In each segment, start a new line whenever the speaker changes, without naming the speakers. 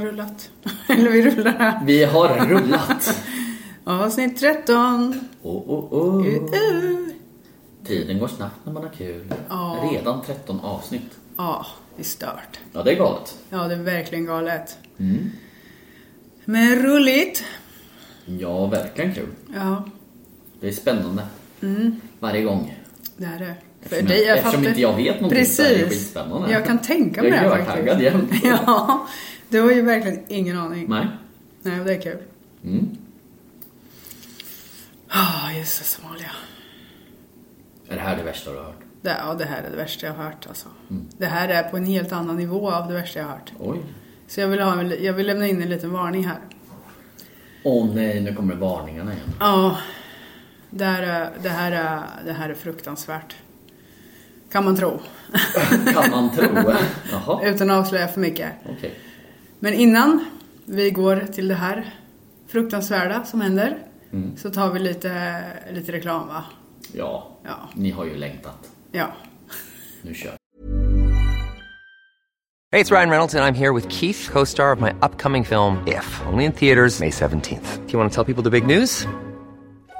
rullat. Eller vi rullar.
Vi har rullat.
Avsnitt 13.
Oh, oh, oh.
Uh, uh.
Tiden går snabbt när man har kul.
Ja.
Redan 13 avsnitt.
Ja, det är stört.
Ja, det är galet. Mm.
Ja, det är verkligen galet. Men roligt.
Ja, verkligen kul.
Ja,
Det är spännande. Varje gång.
det här är för
Eftersom-
dig. Jag
eftersom
fattar-
inte jag vet någonting så är det
Precis.
skitspännande.
Jag kan tänka mig
Jag är
det
görtaggad jämt.
faktiskt. Ja, du har ju verkligen ingen aning.
Nej.
Nej, det är kul.
Mm.
Ah, jösses Somalia.
Är det här det värsta du har hört?
Det, ja, det här är det värsta jag har hört alltså.
Mm.
Det här är på en helt annan nivå av det värsta jag har hört.
Oj.
Så jag vill, ha, en- jag vill lämna in en liten varning här.
Åh nej, nu kommer varningarna igen.
Ja, det här är, det här är, det här är fruktansvärt. Kan man tro.
Kan man tro. Jaha,
Utan att avslöja för mycket.
okej.
Men innan vi går till det här fruktansvärda som händer så tar vi lite, lite reklam va?
Ja,
Ja.
ni har ju längtat.
Ja.
Nu kör vi.
Hey, it's Ryan Reynolds, and I'm here with Keith, co star of my upcoming film, If, only in theaters, May 17th. Do you want to tell people the big news?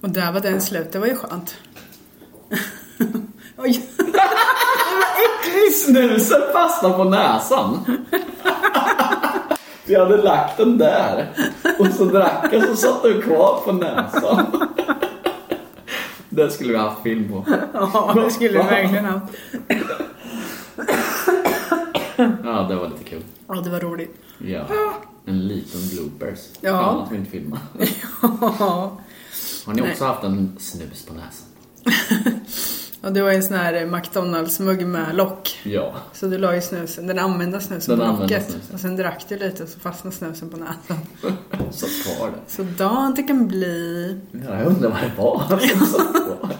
Och där var den slut. Det var ju skönt. Oj.
Snusen fastnade på näsan. Så jag hade lagt den där. Och så drack jag så satt den kvar på näsan. Det skulle vi ha haft film på.
Ja, det skulle du verkligen ha.
Ja, det var lite kul.
Ja, det var roligt.
Ja. En liten bloopers.
Ja.
Fan att vi inte filmar.
Ja.
Har ni också haft en snus på näsan?
Och du har ju en sån här McDonalds-mugg med lock.
Ja.
Så du la ju snusen, den använda snusen
Den
på
använda
locket.
snusen.
Och sen drack du lite och så fastnade snusen på näsan.
Satt kvar där.
Så dant kan bli
Ja, jag undrar vad det var som satt kvar.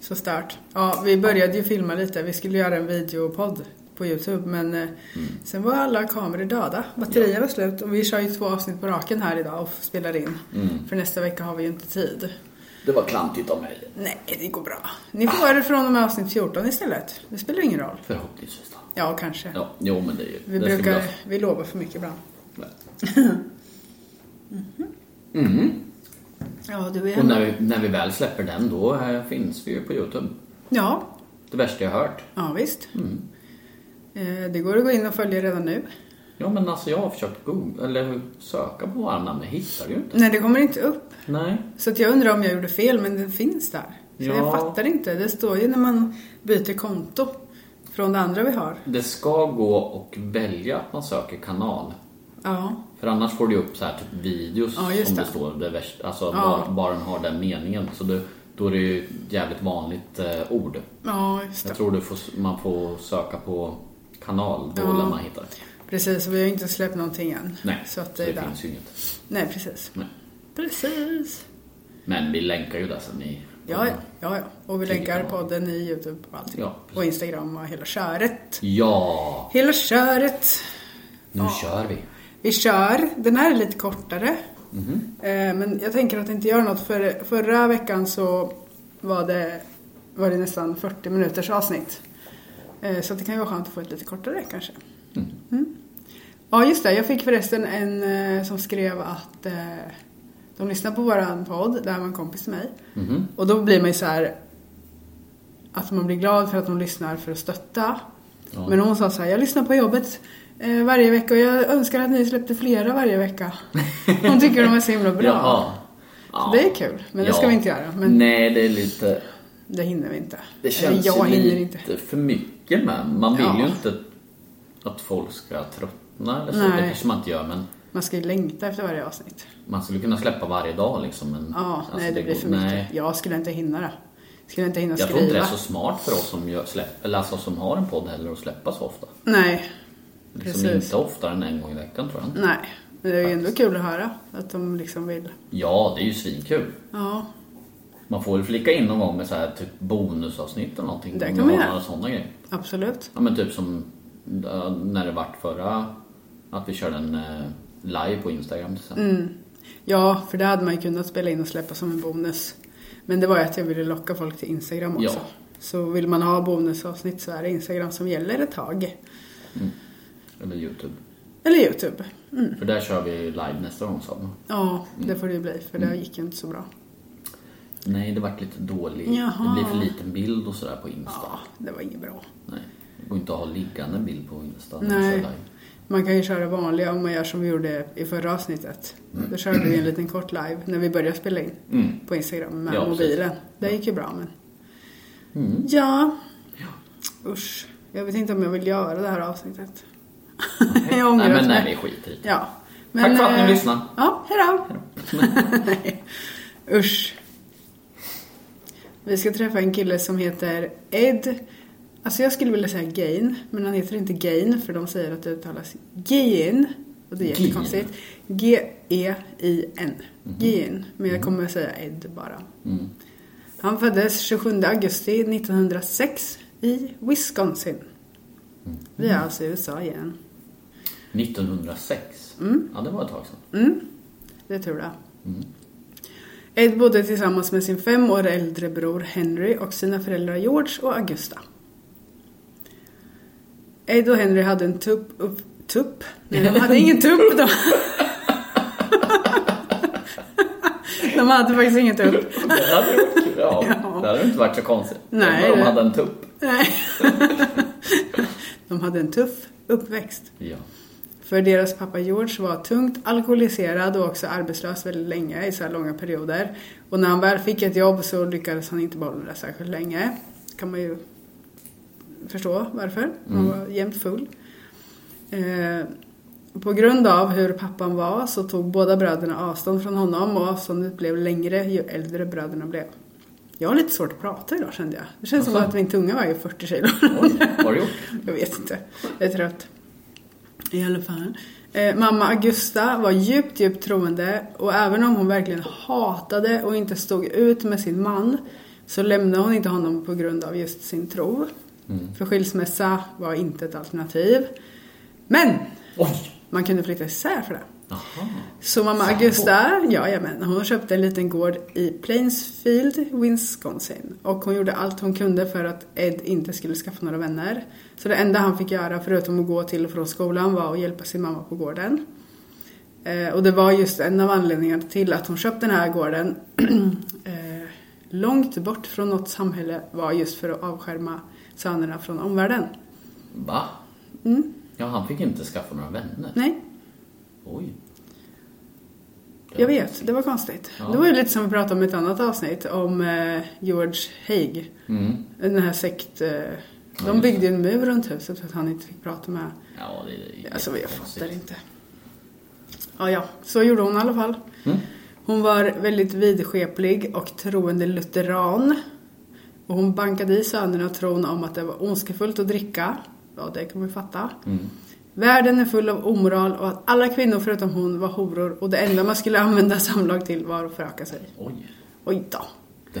så stört. Ja, vi började ju filma lite. Vi skulle göra en videopodd på Youtube men eh,
Mm.
sen var alla kameror döda. Batterier var slut och vi kör ju två avsnitt på raken här idag och spelar in.
Mm.
För nästa vecka har vi ju inte tid.
Det var klantigt av mig.
Nej, det går bra. Ni får det från och med avsnitt 14 istället. Det spelar ingen roll.
Förhoppningsvis då.
Ja, kanske.
Ja, jo men det är ju...
Vi
det ska
brukar,
bli
vi lovar för mycket ibland.
bra.
Ja, du är
Och när vi, när vi väl släpper den då eh, finns vi ju på Youtube.
Ja,
Det värsta jag hört.
ja visst. Eh, Det går att gå in och följa redan nu.
Ja men alltså jag har försökt googla, eller söka på våra namn, jag hittar ju inte.
Nej, det kommer inte upp.
Nej.
Så att jag undrar om jag gjorde fel, men den finns där. Så
Ja.
jag fattar inte. Det står ju när man byter konto från det andra vi har.
Det ska gå och välja att man söker kanal.
Ja,
För annars får du upp så här typ videos
Ja, just
som det
det.
står det värsta, alltså bara, bara den har den meningen. Så det, då är det ju ett jävligt vanligt eh, ord.
ja just det.
Jag tror du får, man får söka på kanal, då lär man hitta det.
Precis, och vi har ju inte släppt någonting än.
Nej,
så att det är där.
finns ju inget.
Nej, precis.
Nej.
Precis.
Men vi länkar ju där sen i...
Ja, ja, ja. ja. Och vi
Tänker
länkar
på.
podden i Youtube och allting.
Ja, precis.
och Instagram och hela köret.
Ja!
Hela köret.
Nu kör vi.
Vi kör. Den här är lite kortare. Eh, Men jag tänker att det inte gör något. För förra veckan så var det, var det nästan 40 minuters avsnitt. Eh, Så att det kan ju vara skönt att få ett lite kortare kanske. Mm. Ja, just det. Jag fick förresten en eh, som skrev att eh, de lyssnar på våran podd. Det här var en kompis till mig.
Mhm.
Och då blir man ju så här att man blir glad för att de lyssnar för att stötta. Men hon sa så här, jag lyssnar på jobbet eh, varje vecka och jag önskar att ni släppte flera varje vecka. Hon tycker de är så himla bra.
Jaha.
Så det är kul, men det ska vi inte göra. Men
Nej, det är lite...
det hinner vi inte.
Det
Eller
känns
jag
ju
hinner
lite
inte.
för mycket med. Man vill
Ja.
ju inte att folk ska tröttna eller så.
Nej.
Det kanske man inte gör, men
Man ska ju längta efter varje avsnitt.
man skulle kunna släppa varje dag liksom. Men,
Ja,
alltså,
nej det blir
går-
för mycket.
Nej.
Jag skulle inte hinna det. Skulle inte hinna
Jag tror
skriva.
inte det är så smart för oss som, gör, släpp, eller alltså, som har en podd heller att släppa så ofta.
Nej,
Liksom
Precis.
inte oftare än en gång i veckan tror jag.
nej. Men det är ju ändå kul att höra att de liksom vill.
Ja, det är ju svinkul.
Ja,
Man får väl flika in någon gång med så här, typ bonusavsnitt eller någonting.
Det kan
om du
man
har
göra.
några sådana grejer.
absolut.
Ja men typ som eh, när det vart förra, att vi körde en eh, live på Instagram till exempel.
Ja, för det hade man ju kunnat spela in och släppa som en bonus. Men det var ju att jag ville locka folk till Instagram också.
Ja.
Så vill man ha bonusavsnitt så är det Instagram som gäller ett tag.
Eller Youtube.
Eller Youtube.
För där kör vi live nästa gång sa man.
Ja, det
Mm.
får det ju bli för det gick ju inte så bra.
Nej det vart lite dåligt.
Jaha.
Det blir för liten bild och sådär på Insta.
Ja, det var inget bra.
Nej. Det går inte att ha liggande bild på Insta när vi
Nej.
kör live.
Man kan ju köra vanliga om man gör som vi gjorde i förra avsnittet. Då körde vi en liten kort live när vi började spela in på Instagram med
Mm. Ja, Mm. precis.
mobilen. Det gick ju bra men... Ja. Usch. Jag vet inte om jag vill göra det här avsnittet. jag ångrar
Nej men
att-
nej vi skiter i det.
Ja.
Tack för att ni
eh,
lyssnade.
Ja, hejdå. Nej. Usch. Vi ska träffa en kille som heter Ed. Alltså jag skulle vilja säga Gain, men han heter inte Gain för de säger att det uttalas Gain. Och det är
Gain.
jättekonstigt. G-E-I-N.
Mhm.
Gain. Men jag kommer att säga Ed bara.
Mm.
Han föddes 27 augusti 1906 i Wisconsin.
Mm.
Vi är alltså i USA igen.
1906.
Mm.
Ja det var ett tag sedan.
Det tror jag. Ed bodde tillsammans med sin fem år äldre bror Henry och sina föräldrar George och Augusta. Ed och Henry hade en tupp... Upp, tupp? Nej, de hade ingen tupp då. De hade faktiskt ingen tupp.
Det hade ju varit kul. Ja,
Ja.
Det hade ju inte varit så konstigt.
Nej,
Om de
det-
hade en tupp.
Nej. De hade en tuff uppväxt.
Ja.
För deras pappa George var tungt alkoholiserad och också arbetslös väldigt länge i så här långa perioder. Och när han väl fick ett jobb så lyckades han inte behålla det särskilt länge. Kan man ju förstå varför. Han var jämt full. Eh, på grund av hur pappan var så tog båda bröderna avstånd från honom och avståndet blev längre ju äldre bröderna blev. Jag har lite svårt att prata idag kände jag. Det känns som
Asså?
att min tunga väger 40 kilo.
Oj, vad har du gjort?
Jag vet inte. Jag är trött. I alla fall. Eh, mamma Augusta var djupt, djupt troende och även om hon verkligen hatade och inte stod ut med sin man så lämnade hon inte honom på grund av just sin tro.
Mm.
För skilsmässa var inte ett alternativ. Men!
Oj!
Man kunde flytta isär för det.
Jaha.
Så mamma Augusta, ja, jamen, hon köpte en liten gård i Plainsfield, Wisconsin. Och hon gjorde allt hon kunde för att Ed inte skulle skaffa några vänner. Så det enda han fick göra, förutom att gå till och från skolan, var att hjälpa sin mamma på gården. Eh, och det var just en av anledningarna till att hon köpte den här gården eh, långt bort från något samhälle var just för att avskärma sönerna från omvärlden.
Va? Ja, han fick inte skaffa några vänner.
Mm. Nej,
Oj.
Jag vet, det var konstigt. Det var ju lite som vi pratade om i ett annat avsnitt om eh, George Haig.
Mm.
Den här sekt... Eh, de byggde ju en mur runt huset för att han inte fick prata med...
Ja, det är
Alltså jag
jättekonstigt.
fattar inte. Ja, ja, så gjorde hon i alla fall.
Mm.
Hon var väldigt vidskeplig och troende lutheran. Och hon bankade i sönerna tron om att det var ondskefullt att dricka. Ja, det kan man ju fatta.
Mm.
Världen är full av omoral och att alla kvinnor förutom hon var horor och det enda man skulle använda samlag till var att föröka sig.
Oj.
Oj då.
Det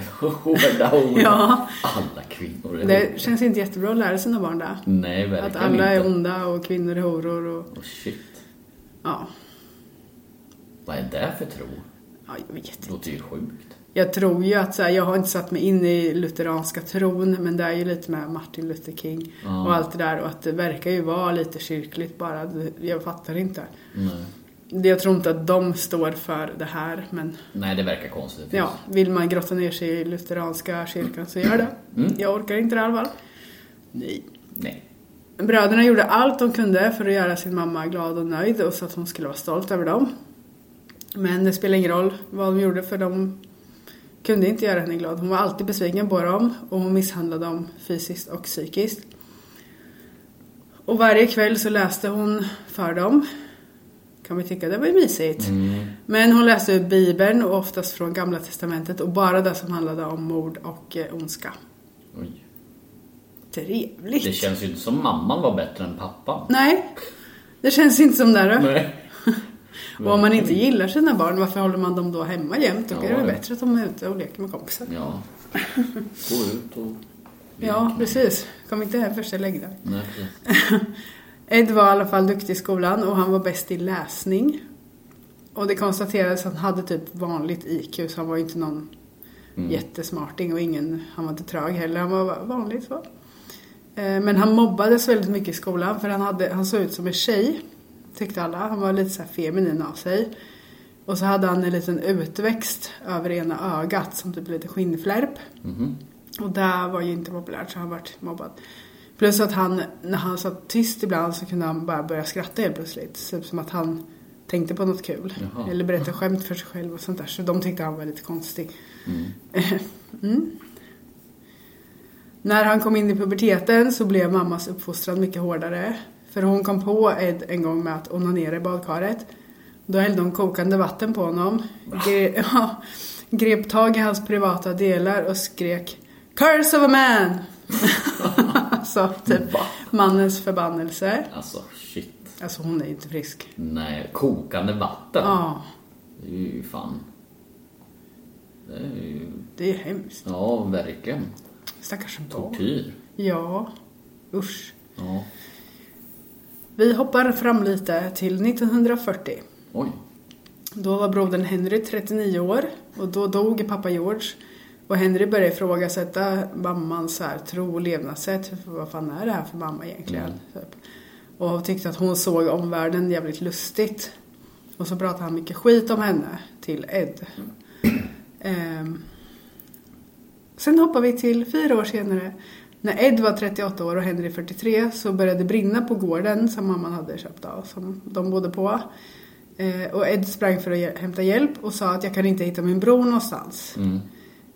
Jättehårda ord.
Ja.
Alla kvinnor är
Det känns inte jättebra att lära sina barn det.
Mm. Nej, verkligen
Att alla är
inte.
onda och kvinnor är horor och
Oh, shit.
ja,
Vad är det för tro?
ja jag vet
Det
inte.
låter ju sjukt.
Jag tror ju att så här, jag har inte satt mig in i lutheranska tron men det är ju lite med Martin Luther King
Ja.
och allt det där och att det verkar ju vara lite kyrkligt bara. Jag fattar inte.
Nej.
Jag tror inte att de står för det här men
Nej, det verkar konstigt.
ja, vill man grotta ner sig i lutheranska kyrkan så gör det. Jag orkar inte det i alla fall. Nej.
Nej.
Bröderna gjorde allt de kunde för att göra sin mamma glad och nöjd och så att hon skulle vara stolt över dem. Men det spelar ingen roll vad de gjorde för de kunde inte göra henne glad. Hon var alltid besviken på dem och hon misshandlade dem fysiskt och psykiskt. Och varje kväll så läste hon för dem. Kan vi tycka det var ju mysigt.
Mm.
Men hon läste ur Bibeln och oftast från Gamla Testamentet och bara det som handlade om mord och eh, ondska.
Oj.
Trevligt!
Det känns ju inte som mamman var bättre än pappan.
Nej, det känns inte som det. då.
Nej.
Och om man inte gillar sina barn, varför håller man dem då hemma jämt? Då
Ja,
är det väl
det.
bättre att de är ute och leker med kompisar.
Ja. Gå ut och...
Ja, precis. Kom inte hem först, jag lägger dig.
Nej, precis.
Ed var i alla fall duktig i skolan och han var bäst i läsning. Och det konstaterades att han hade typ vanligt IQ, så han var ju inte någon jättesmarting och ingen, han var inte trög heller, han var vanligt så. Eh, Men han mobbades väldigt mycket i skolan för han, hade, han såg ut som en tjej, tyckte alla. Han var lite så här feminin av sig. Och så hade han en liten utväxt över ena ögat som typ lite skinnflärp. Och det var ju inte populärt så han vart mobbad. Plus att han, när han satt tyst ibland så kunde han bara börja skratta helt plötsligt. Typ som att han tänkte på något kul.
Jaha.
Eller berätta skämt för sig själv och sånt där. Så de tyckte han var lite konstig. mm. När han kom in i puberteten så blev mammas uppfostran mycket hårdare. För hon kom på Ed en gång med att onanera i badkaret. Då hällde hon kokande vatten på honom. Gre- ja, grep tag i hans privata delar och skrek Curse of a man! alltså typ
Va?
mannens förbannelse.
Alltså, shit.
Alltså hon är ju inte frisk.
Nej, kokande vatten.
Ja,
Det är ju fan... Det är ju...
det är ju hemskt.
Ja, verkligen.
Stackars barn.
Tortyr.
Ja, usch.
Ja.
Vi hoppar fram lite till 1940.
Oj.
Då var brodern Henry 39 år och då dog pappa George. Och Henry började ifrågasätta mammans så här, tro och levnadssätt. För Vad fan är det här för mamma egentligen? Typ. Och tyckte att hon såg omvärlden jävligt lustigt. Och så pratade han mycket skit om henne till Ed. Ehm. Sen hoppar vi till fyra år senare. När Ed var 38 år och Henry 43 så började det brinna på gården som mamman hade köpt av, som de bodde på. Eh, och Ed sprang för att hj- hämta hjälp och sa att jag kan inte hitta min bror någonstans.
Mm.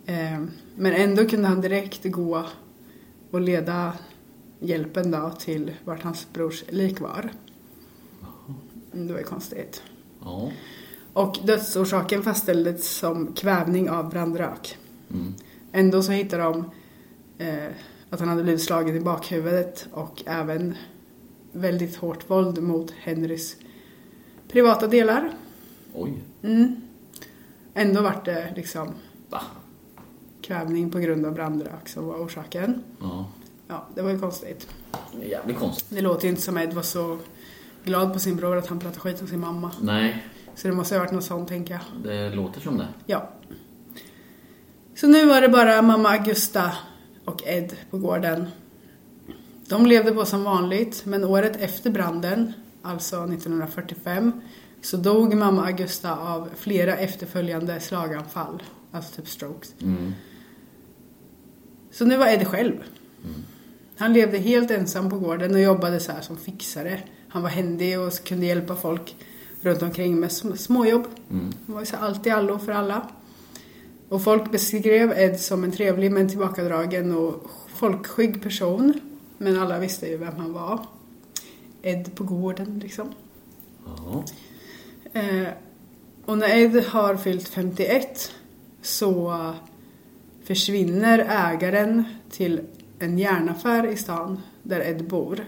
Eh, men ändå kunde han direkt gå och leda hjälpen då till vart hans brors lik var. Mm, Det var ju konstigt.
Ja.
Och dödsorsaken fastställdes som kvävning av brandrök. Ändå så hittade de eh, att han hade blivit slagen i bakhuvudet och även väldigt hårt våld mot Henrys privata delar.
Oj.
Ändå vart det liksom
Va?
kvävning på grund av brandrök som var orsaken.
Ja.
Ja, det var ju konstigt.
Det är jävligt konstigt.
Det låter ju inte som Ed var så glad på sin bror att han pratade skit om sin mamma.
Nej,
Så det måste ha varit något sånt, tänker jag.
det låter som det.
Ja. Så nu var det bara mamma Augusta och Ed på gården. De levde på som vanligt, men året efter branden, alltså 1945, så dog mamma Augusta av flera efterföljande slaganfall, alltså typ strokes. Så nu var Ed själv. Han levde helt ensam på gården och jobbade så här som fixare. Han var händig och kunde hjälpa folk runt omkring med sm- småjobb. Han var ju så här allt i allo för alla. Och folk beskrev Ed som en trevlig men tillbakadragen och folkskygg person. Men alla visste ju vem han var. Ed på gården liksom.
Ja.
Eh, och när Ed har fyllt 51 så försvinner ägaren till en järnaffär i stan där Ed bor.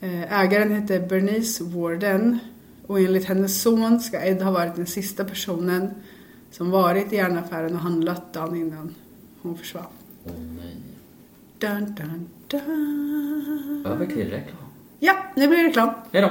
Eh, ägaren hette Bernice Warden och enligt hennes son ska Ed ha varit den sista personen som varit i järnaffären och handlat dagen innan hon försvann.
Åh nej.
Dun, dun, dun.
Över till reklam.
Ja, nu blir det reklam.
Hej då.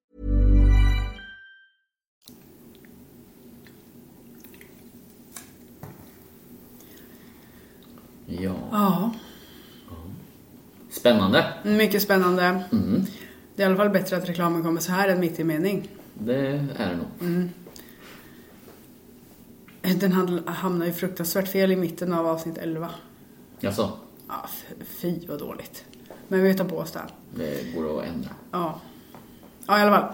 Ja.
Ja,
Spännande.
mycket spännande. Det är i alla fall bättre att reklamen kommer så här än mitt i mening.
Det är det nog.
Mm. Den handl- hamnar ju fruktansvärt fel i mitten av avsnitt 11.
Alltså,
Ja, f- fy vad dåligt. Men vi tar på oss det. här.
det går att ändra.
Ja. Ja, i alla fall.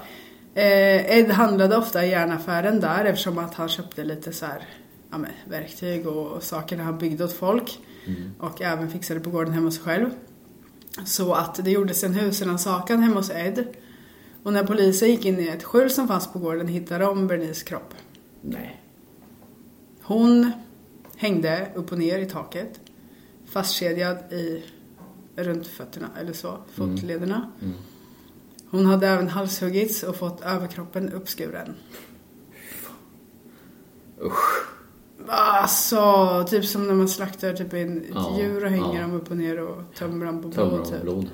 Eh, Ed handlade ofta i järnaffären där eftersom att han köpte lite så här, ja, men, verktyg och, och saker han byggde åt folk. Och även fixade på gården hemma hos sig själv. Så att det gjordes en husrannsakan hemma hos Ed. Och när polisen gick in i ett skjul som fanns på gården hittade de Bernices kropp.
Nej.
Hon hängde upp och ner i taket. Fastkedjad i runt fötterna, eller
Mm.
så, fotlederna. Hon hade även halshuggits och fått överkroppen uppskuren.
Usch.
Alltså, typ som när man slaktar typ en ett
Ja,
djur och hänger
ja.
dem upp och ner och tömmer dem på
Tömmer
blod.
av
Typ. Ah.
blod.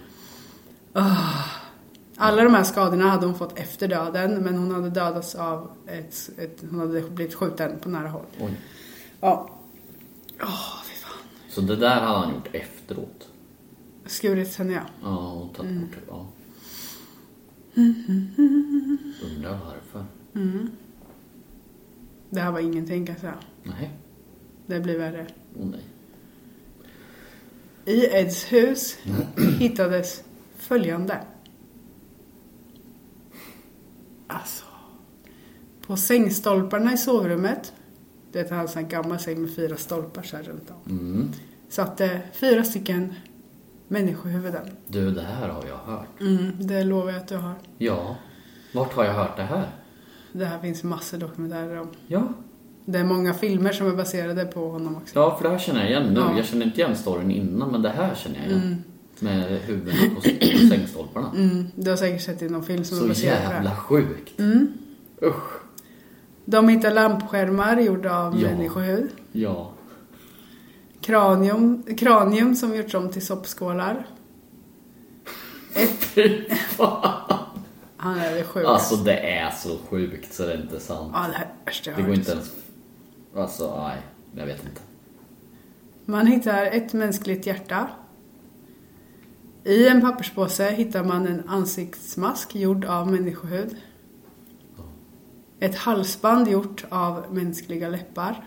Alla de här skadorna hade hon fått efter döden men hon hade dödats av ett, ett hon hade blivit skjuten på nära håll.
Oj.
Ja. Åh, fy fan.
Så det där hade han gjort efteråt.
Skurit henne ja.
Ja, och tagit
Mm.
bort det. Ja. Undrar varför.
Mm. Det här var ingenting kan jag säga.
Nej.
Det blir värre.
Åh nej.
I Eds hus hittades följande. Alltså. På sängstolparna i sovrummet. Det är alltså en gammal säng med fyra stolpar så här runt om.
Mm.
Satt det fyra stycken människohuvuden.
Du, det här har jag hört.
Mm, det lovar jag att du har.
Ja. Vart har jag hört det här?
Det här finns massor dokumentärer om.
Ja.
Det är många filmer som är baserade på honom också.
Ja, för det här känner jag igen nu.
Ja.
Jag känner inte igen storyn innan, men det här känner jag igen. Med huvudet på s- sängstolparna.
Mm, du har säkert sett det i någon film som är
Så
baserad på det.
jävla
här.
sjukt.
Mm.
Usch.
De hittar lampskärmar gjorda av
Ja.
människohud.
Ja.
Kranium, kranium som gjorts om till soppskålar. Ett... Han är det sjukaste.
Alltså det är så sjukt så det är inte sant.
ja, det här är det värsta jag
Det
har
går
hört.
inte ens... Alltså, nej. Jag vet inte.
Man hittar ett mänskligt hjärta. I en papperspåse hittar man en ansiktsmask gjord av människohud. Ett halsband gjort av mänskliga läppar.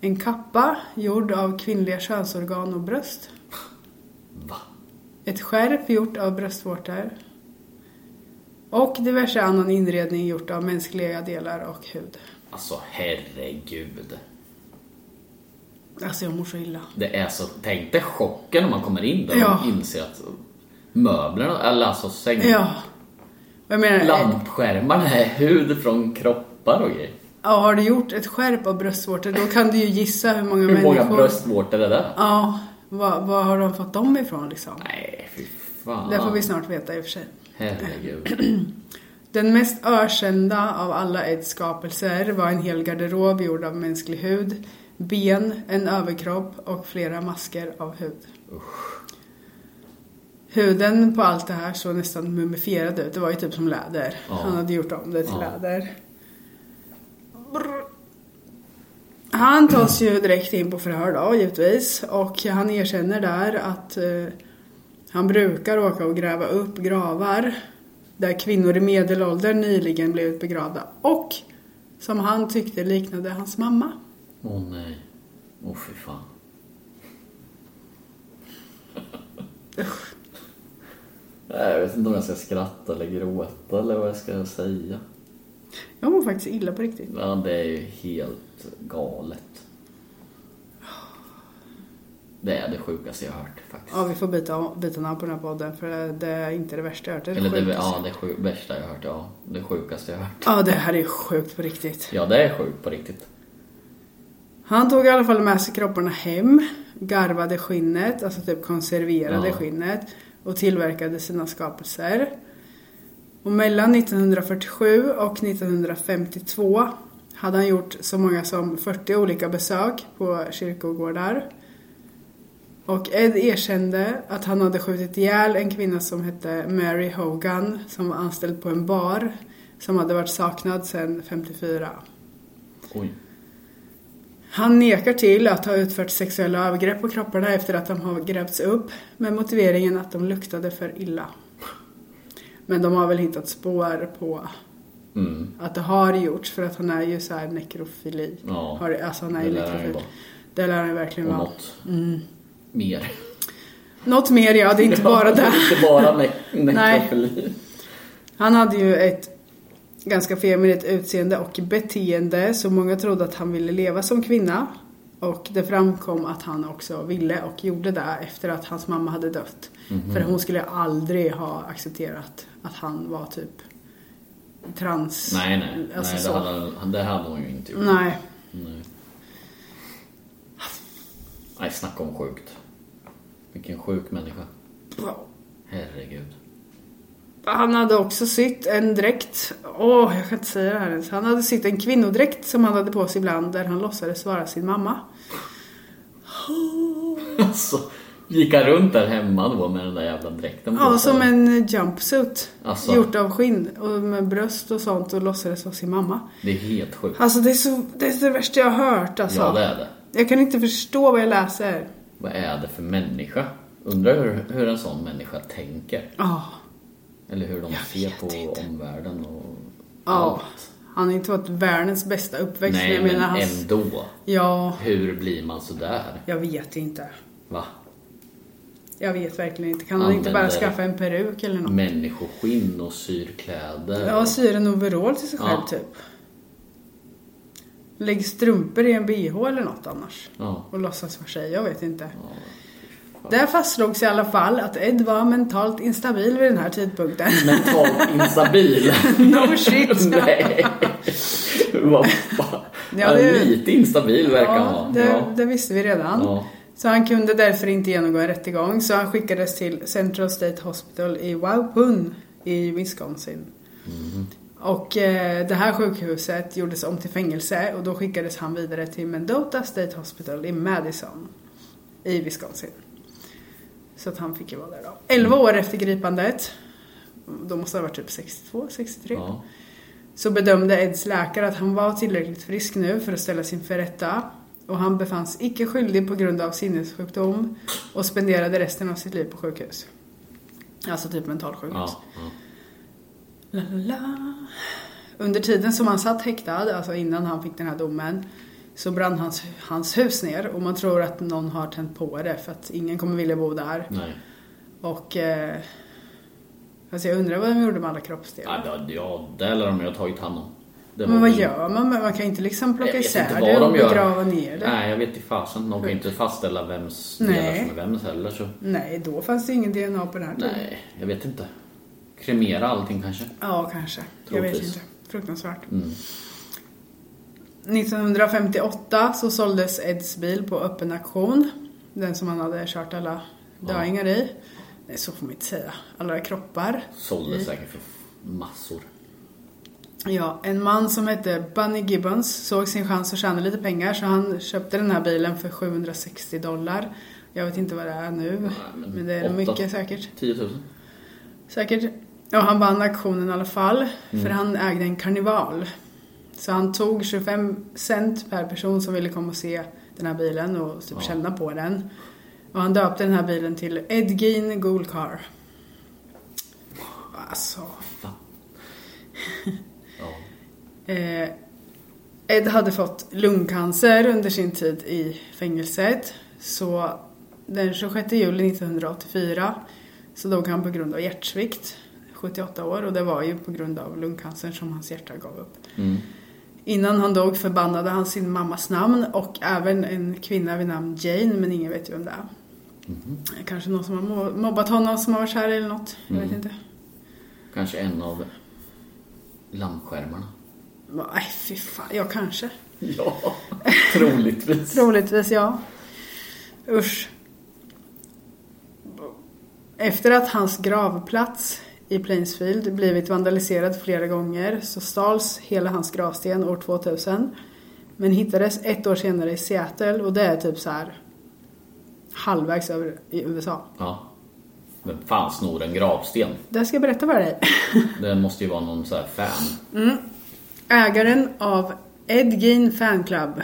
En kappa gjord av kvinnliga könsorgan och bröst.
Va?
Ett skärp gjort av bröstvårtor. Och diverse annan inredning gjort av mänskliga delar och hud.
Alltså herregud.
Alltså jag mår så illa.
Det är så... Tänk dig chocken när man kommer in där
Ja.
och inser att möblerna, eller alltså säng...
Ja. Jag menar, eh,
Lampskärmarna är hud från kroppar och grejer.
ja, har du gjort ett skärp av bröstvårtor då kan du ju gissa hur många
Hur många
människor...
bröstvårtor är det?
Ja, vad, vad har de fått dem ifrån liksom?
Nej, fy
Det får vi
fan.
snart veta i och för sig.
Herregud.
Den mest ökända av alla Eds skapelser var en hel garderob gjord av mänsklig hud, ben, en överkropp och flera masker av hud. Huden på allt det här såg nästan mumifierad ut. Det var ju typ som läder.
Ja.
Han hade gjort om det till
Ja.
läder. Brr. Han tas ju direkt in på förhör då givetvis och han erkänner där att eh, han brukar åka och gräva upp gravar där kvinnor i medelåldern nyligen blivit begravda och som han tyckte liknade hans mamma.
Åh nej. Åh fy fan. Nej, jag vet inte om jag ska skratta eller gråta eller vad jag ska säga.
Jag mår faktiskt illa på riktigt.
Ja, det är ju helt galet. Det är det sjukaste jag har hört faktiskt.
Ja, vi får byta, byta namn på den här podden för det, det är inte det värsta jag hört. Det är det
Eller det,
sjukaste.
ja, det sju, värsta jag har hört. Ja, det sjukaste jag har hört.
ja, det här är sjukt på riktigt.
Ja, det är sjukt på riktigt.
Han tog i alla fall med sig kropparna hem, garvade skinnet, alltså typ konserverade
Ja.
skinnet och tillverkade sina skapelser. Och mellan 1947 och 1952 hade han gjort så många som 40 olika besök på kyrkogårdar. Och Ed erkände att han hade skjutit ihjäl en kvinna som hette Mary Hogan som var anställd på en bar som hade varit saknad sedan 54.
Oj.
Han nekar till att ha utfört sexuella övergrepp på kropparna efter att de har grävts upp med motiveringen att de luktade för illa. Men de har väl hittat spår på
Mm.
att det har gjorts för att han är ju så här nekrofili.
Ja,
Har, alltså han är
det
ju
lär han ju
nekrofil.
vara.
Det lär han verkligen
Och
vara.
något mer.
Något mer ja, det är inte bara det.
Inte bara ne- nekrofili.
Han hade ju ett ganska feminint utseende och beteende så många trodde att han ville leva som kvinna. Och det framkom att han också ville och gjorde det efter att hans mamma hade dött.
Mhm.
För hon skulle aldrig ha accepterat att han var typ trans.
Nej, nej.
Alltså
nej
så. Mm.
det, hade, det hade hon ju inte gjort.
Nej.
Nej. Nej, snacka om sjukt. Vilken sjuk människa. Herregud.
Han hade också sytt en dräkt. Åh, jag kan inte säga det här ens. Han hade sytt en kvinnodräkt som han hade på sig ibland där han låtsades vara sin mamma.
Alltså, gick han runt där hemma då med den där jävla dräkten på
Ja,
sig?
som en jumpsuit.
Alltså.
Gjort av skinn och med bröst och sånt och låtsades vara sin mamma.
Det är helt sjukt.
Alltså det är, så, det är det värsta jag har hört alltså.
Ja, det är det.
Jag kan inte förstå vad jag läser.
Vad är det för människa? Undrar hur, hur en sån människa tänker.
Ja.
Eller hur de ser
vet
på
inte.
omvärlden och
Ja. Han har inte varit världens bästa uppväxt.
Nej,
jag
men
menar hans...
ändå.
Ja,
Hur blir man sådär?
jag vet inte.
Va?
Jag vet verkligen inte. Kan han inte bara
Använder-
skaffa en peruk eller något?
Människoskinn och syrkläder.
Ja,
och-
syr en overall till sig
Ja.
själv typ. Lägg strumpor i en bh eller något annars.
Ja.
Och låtsas vara tjej, jag vet inte. Där fastslogs i alla fall att Ed var mentalt instabil vid den här tidpunkten.
mentalt instabil.
No shit.
Nej. Vad fan.
Ja, det-
Lite instabil verkar han
ja,
vara.
det,
Ja.
det visste vi redan.
Ja.
Så han kunde därför inte genomgå en rättegång så han skickades till Central State Hospital i Waupun i Wisconsin.
Mm.
Och eh, det här sjukhuset gjordes om till fängelse och då skickades han vidare till Mendota State Hospital i Madison i Wisconsin. Så att han fick ju vara där då.
Mm.
11 år efter gripandet, då måste han ha varit typ 62, 63.
Ja.
Så bedömde Eds läkare att han var tillräckligt frisk nu för att ställa sin förrätta och han befanns icke skyldig på grund av sinnessjukdom och spenderade resten av sitt liv på sjukhus. Alltså typ mentalsjukhus.
Ja, ja.
La, la, la. Under tiden som han satt häktad, alltså innan han fick den här domen, så brann hans, hans hus ner och man tror att någon har tänt på det för att ingen kommer vilja bo där.
Nej.
Och... Eh, alltså jag undrar vad de gjorde med alla kroppsdelar.
Ja, det- ja, det lär de ju ha tagit hand om. Det
Men
var
vad
väl-
gör man? Man man kan inte liksom
Mm. Jag
plocka
vet
isär
inte
det
vad
och
de gör.
begrava ner det. Nej.
Nej, jag vet inte fasen. De kan ju inte fastställa vems
Nej.
delar som är vems heller. Så.
då fanns det ingen DNA på den här tiden.
Nej, jag vet inte. Kremera allting kanske?
Ja, kanske. Jag vet
Troligtvis. Mm.
inte. Fruktansvärt. 1958 så såldes Eds bil på öppen auktion. Den som han hade kört alla döingar i. Nej, så får man inte säga. Alla kroppar.
Sålde
i.
säkert för massor.
Ja, en man som hette Bunny Gibbons såg sin chans att tjäna lite pengar så han köpte den här bilen för 760 dollar. Jag vet inte vad det är nu, men, det är
åtta-
mycket säkert.
10 000.
Säkert. Ja, han vann auktionen i alla fall, för han ägde en karneval. Så han tog 25 cent per person som ville komma och se den här bilen och typ känna på den. Och han döpte den här bilen till Edgin Gold Car. Alltså...
Ja.
Eh, Ed hade fått lungcancer under sin tid i fängelset. Så den 26 juli 1984 så dog han på grund av hjärtsvikt, 78 år. Och det var ju på grund av lungcancern som hans hjärta gav upp. Innan han dog förbannade han sin mammas namn och även en kvinna vid namn Jane, men ingen vet ju vem det är. Kanske någon som har mo- mobbat honom som har varit kär eller något. Jag vet inte.
Kanske en av lampskärmarna.
Nej, fy fan. Ja, kanske.
Ja, troligtvis.
Troligtvis ja. Usch. Efter att hans gravplats i Plainsfield blivit vandaliserad flera gånger så stals hela hans gravsten år 2000. Men hittades ett år senare i Seattle och det är typ så här halvvägs över i USA.
Ja. Men fan snor en gravsten?
Det ska jag berätta för dig.
Det måste ju vara någon så här fan.
Ägaren av Ed Gein Fanclub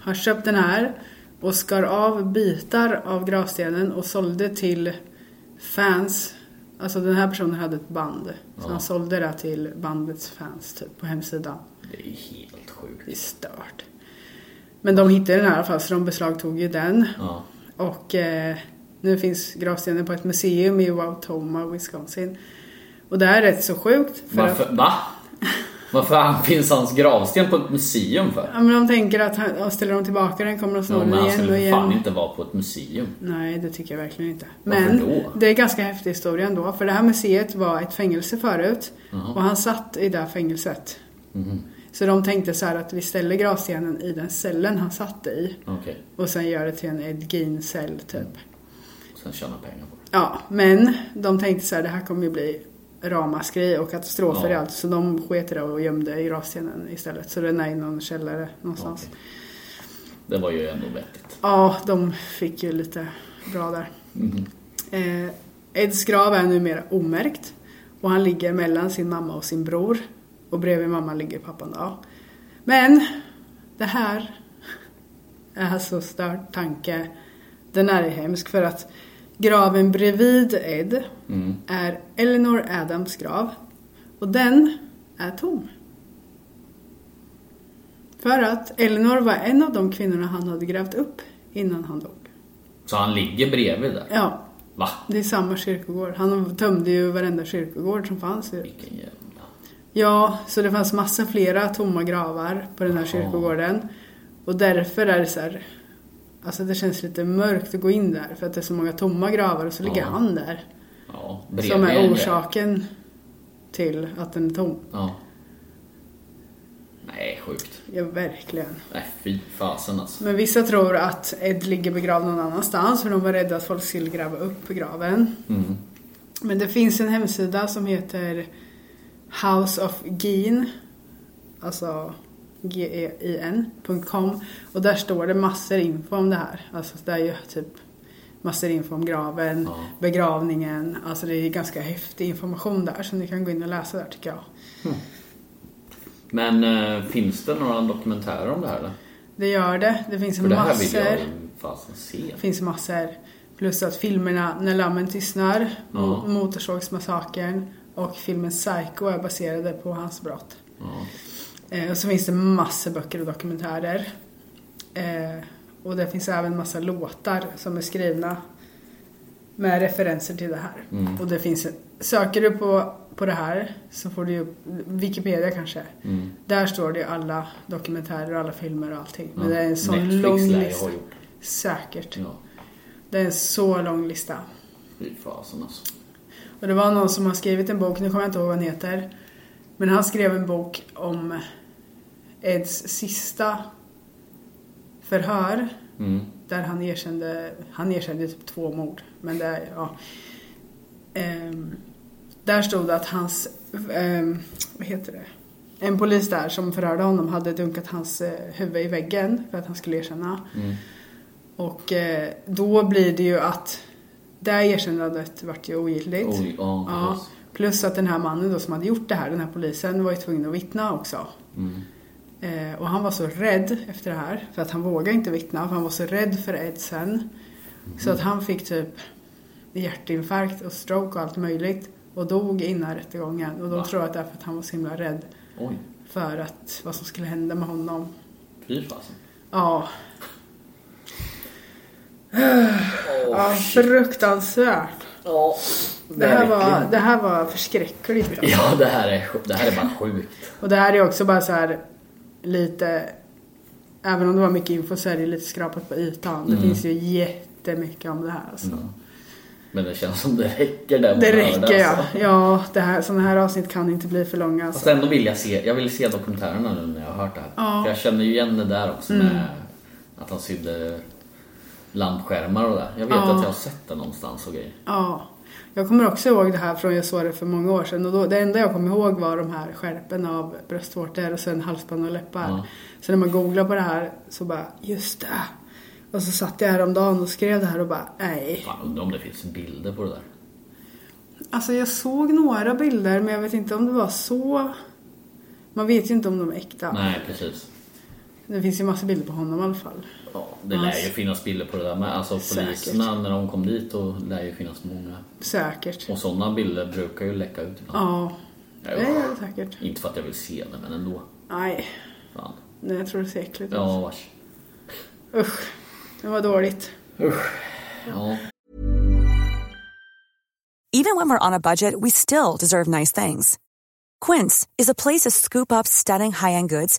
har köpt den här och skar av bitar av gravstenen och sålde till fans. Alltså den här personen hade ett band. Så han sålde det till bandets fans typ, på hemsidan.
Det är ju helt
Det är
sjukt.
stört. Men de hittade den här i alla fall så de beslagtog ju den.
Ja.
Och eh, nu finns gravstenen på ett museum i Wautoma, Wisconsin. Och det här är rätt så sjukt. för att-
Varför, va? Vad fan finns hans gravsten på ett museum för?
Ja, men de tänker att han, ja, ställer de tillbaka den kommer de
Ja,
snå
men
den
han
igen och
skulle för fan
igen.
inte vara på ett museum.
Nej, det tycker jag verkligen inte.
Varför
Men
då?
det är ganska häftig historia ändå. För det här museet var ett fängelse förut. Och han satt i det här fängelset.
Mhm.
Så de tänkte så här att vi ställer gravstenen i den cellen han satt i.
Okej,
Och sen gör det till en Ed Gein-cell typ.
sen tjäna pengar på det.
Ja, men de tänkte så här, det här kommer ju bli ramaskri och katastrofer
Ja.
i allt. Så de sket i det och gömde i gravstenen istället. Så den är i någon källare någonstans.
Okej. Det var ju ändå vettigt.
Ja, de fick ju lite bra där. Eh, Eds grav är numera omärkt och han ligger mellan sin mamma och sin bror. Och bredvid mamman ligger pappan då. Men det här är så stört tanke. Den här är hemsk för att graven bredvid Ed är Eleanor Adams grav. Och den är tom. För att Elinor var en av de kvinnorna han hade grävt upp innan han dog.
Så han ligger bredvid där?
Ja,
Va?
det är samma kyrkogård. Han tömde ju varenda kyrkogård som fanns. i-
Vilken jävla...
Ja, så det fanns massa flera tomma gravar på den här kyrkogården. Och därför är det så här... Alltså det känns lite mörkt att gå in där för att det är så många tomma gravar och så ligger
Ja.
han där.
Ja, bredvid
Som
en
är
jävel.
orsaken till att den är tom.
Ja. Nej, sjukt.
Ja, verkligen.
Nej, fy fasen alltså.
Men vissa tror att Ed ligger begravd någon annanstans för de var rädda att folk skulle gräva upp graven.
Mm.
Men det finns en hemsida som heter House of Gein, alltså G-E-I-N.com och där står det massor info om det här. Alltså det är ju typ massor info om graven, begravningen, alltså det är ganska häftig information där så ni kan gå in och läsa där tycker jag.
Men eh, finns det några dokumentärer om det här eller?
Det gör det, det finns
För det här vill
massor.
jag ju fasen se.
Det finns massor. Plus att filmerna När lammen tystnar,
Ja.
mm. Motorsågsmassakern och filmen Psycho är baserade på hans brott.
Ja.
Eh, och så finns det massor böcker och dokumentärer. Eh, och det finns även massa låtar som är skrivna med referenser till det här.
Mm.
Och det finns, söker du på, på det här så får du ju upp- Wikipedia kanske.
Mm.
Där står det ju alla dokumentärer och alla filmer och allting. Men det är en sån
Netflix
lång
lär jag ha
lista.
gjort. Mm.
Säkert.
ja.
Det är en så lång lista.
Fy fasen alltså.
Och det var någon som har skrivit en bok, nu kommer jag inte ihåg vad han heter. Men han skrev en bok om Eds sista förhör. Där han erkände, han erkände typ två mord. Men det, ja. Ehm, där stod det att hans, ehm, vad heter det? En polis där som förhörde honom hade dunkat hans eh, huvud i väggen för att han skulle erkänna. Och eh, då blir det ju att det här erkännandet vart ju ogiltigt.
Oj, ja, precis.
Plus att den här mannen då som hade gjort det här, den här polisen, var ju tvungen att vittna också. Mm. Eh, och han var så rädd efter det här, för att han vågade inte vittna, för han var så rädd för Ed sen. Så att han fick typ hjärtinfarkt och stroke och allt möjligt och dog innan rättegången. Och de tror att det är för att han var så himla rädd
Oj,
för att vad som skulle hända med honom.
fy fasen.
Ja. ja fruktansvärt.
Ja,
Det här, var, det här var förskräckligt. alltså.
Ja, det här är, sj- det här är bara sjukt.
Och det här är också bara så här lite, även om det var mycket info så är det lite skrapat på ytan. Det finns ju jättemycket om det här. Alltså.
Men det känns som det räcker
Det
där. man hör
räcker ja.
alltså.
Ja, det här, sådana här avsnitt kan inte bli för långa. Alltså.
Fast ändå vill jag se, jag vill se dokumentärerna nu när jag har hört det här. För jag känner ju igen det där också med att han sydde lampskärmar och det där. Jag vet att jag har sett det någonstans och grejer.
Ja. Jag kommer också ihåg det här från jag såg det för många år sedan. Och då, det enda jag kommer ihåg var de här skärpen av bröstvårtor och sen halsband och läppar.
Ja.
Så när man googlar på det här så bara, just det. Och så satt jag häromdagen och skrev det här och bara, nej.
Fan, undrar om det finns bilder på det där.
Alltså jag såg några bilder men jag vet inte om det var så. Man vet ju inte om de är äkta.
Nej, precis.
Det finns ju massa bilder på honom i alla fall.
Ja, det lär ju finnas bilder på det där med. Alltså
Säkert.
poliserna när de kom dit då lär ju finnas många.
Säkert.
Och sådana bilder brukar ju läcka ut ibland.
Ja.
Ja,
Det är det säkert.
Inte för att jag vill se det men ändå.
Nej.
Fan.
Nej, jag tror det ser äckligt ut.
Ja, vars.
Usch. Det var dåligt.
Ja.
Even when we're on a budget, we still deserve nice things. Quince is a place to scoop up stunning high-end goods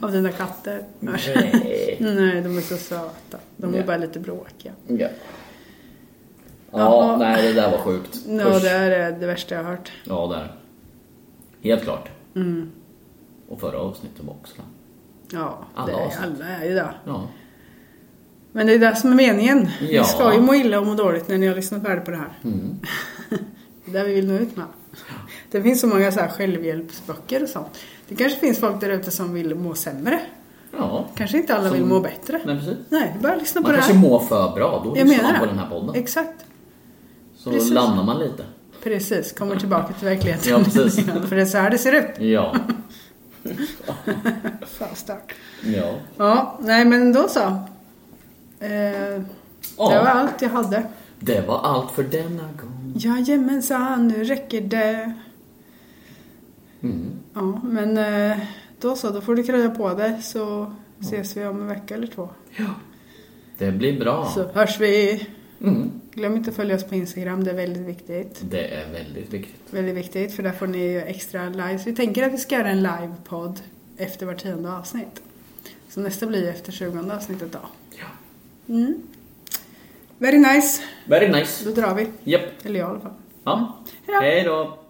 Av dina katter?
Nej.
Nej, de är så söta. De är
Ja.
bara lite bråkiga.
Ja. Ja,
Jaha.
nej det där var sjukt.
No,
Usch.
det här är det värsta jag har hört.
Ja, det är det. Helt klart.
Mm.
Och förra avsnittet var också det.
Ja,
Alla
det är,
avsnitt.
alla är ju det.
Ja.
Men det är det som är meningen.
Ja. Mm.
Ni ska ju må illa och må dåligt när ni har lyssnat färdigt på det här. det är det vi vill nå ut med. Det finns så många så här självhjälpsböcker och sånt. Det kanske finns folk där ute som vill må sämre.
ja.
Kanske inte alla vill må bättre.
Nej, precis.
Nej, bara lyssna
Man
på det
kanske
här.
mår för bra, då
Jag
lyssnar
menar
man på
det.
den här podden.
Exakt.
Så
precis.
landar man lite.
Precis, kommer tillbaka till verkligheten.
Ja, precis.
För det är så här det ser ut.
Ja.
Fan, stark.
ja.
Ja, nej men då så. Eh,
Ja.
Det var allt jag hade.
Det var allt för denna gång.
Jajamensan, nu räcker det. Ja, men eh, då så, då får du krya på dig så ses vi om en vecka eller två.
Det blir bra.
Så hörs vi. Glöm inte att följa oss på Instagram, det är väldigt viktigt.
Det är väldigt viktigt.
Väldigt viktigt, för där får ni ju extra lives. Vi tänker att vi ska göra en livepodd efter var tionde avsnitt. Så nästa blir efter tjugonde avsnittet då.
Ja.
Very nice,
Very
då
nice.
drar vi.
Japp.
Eller jag i alla fall.
Ja.
Hej då.
Hej då.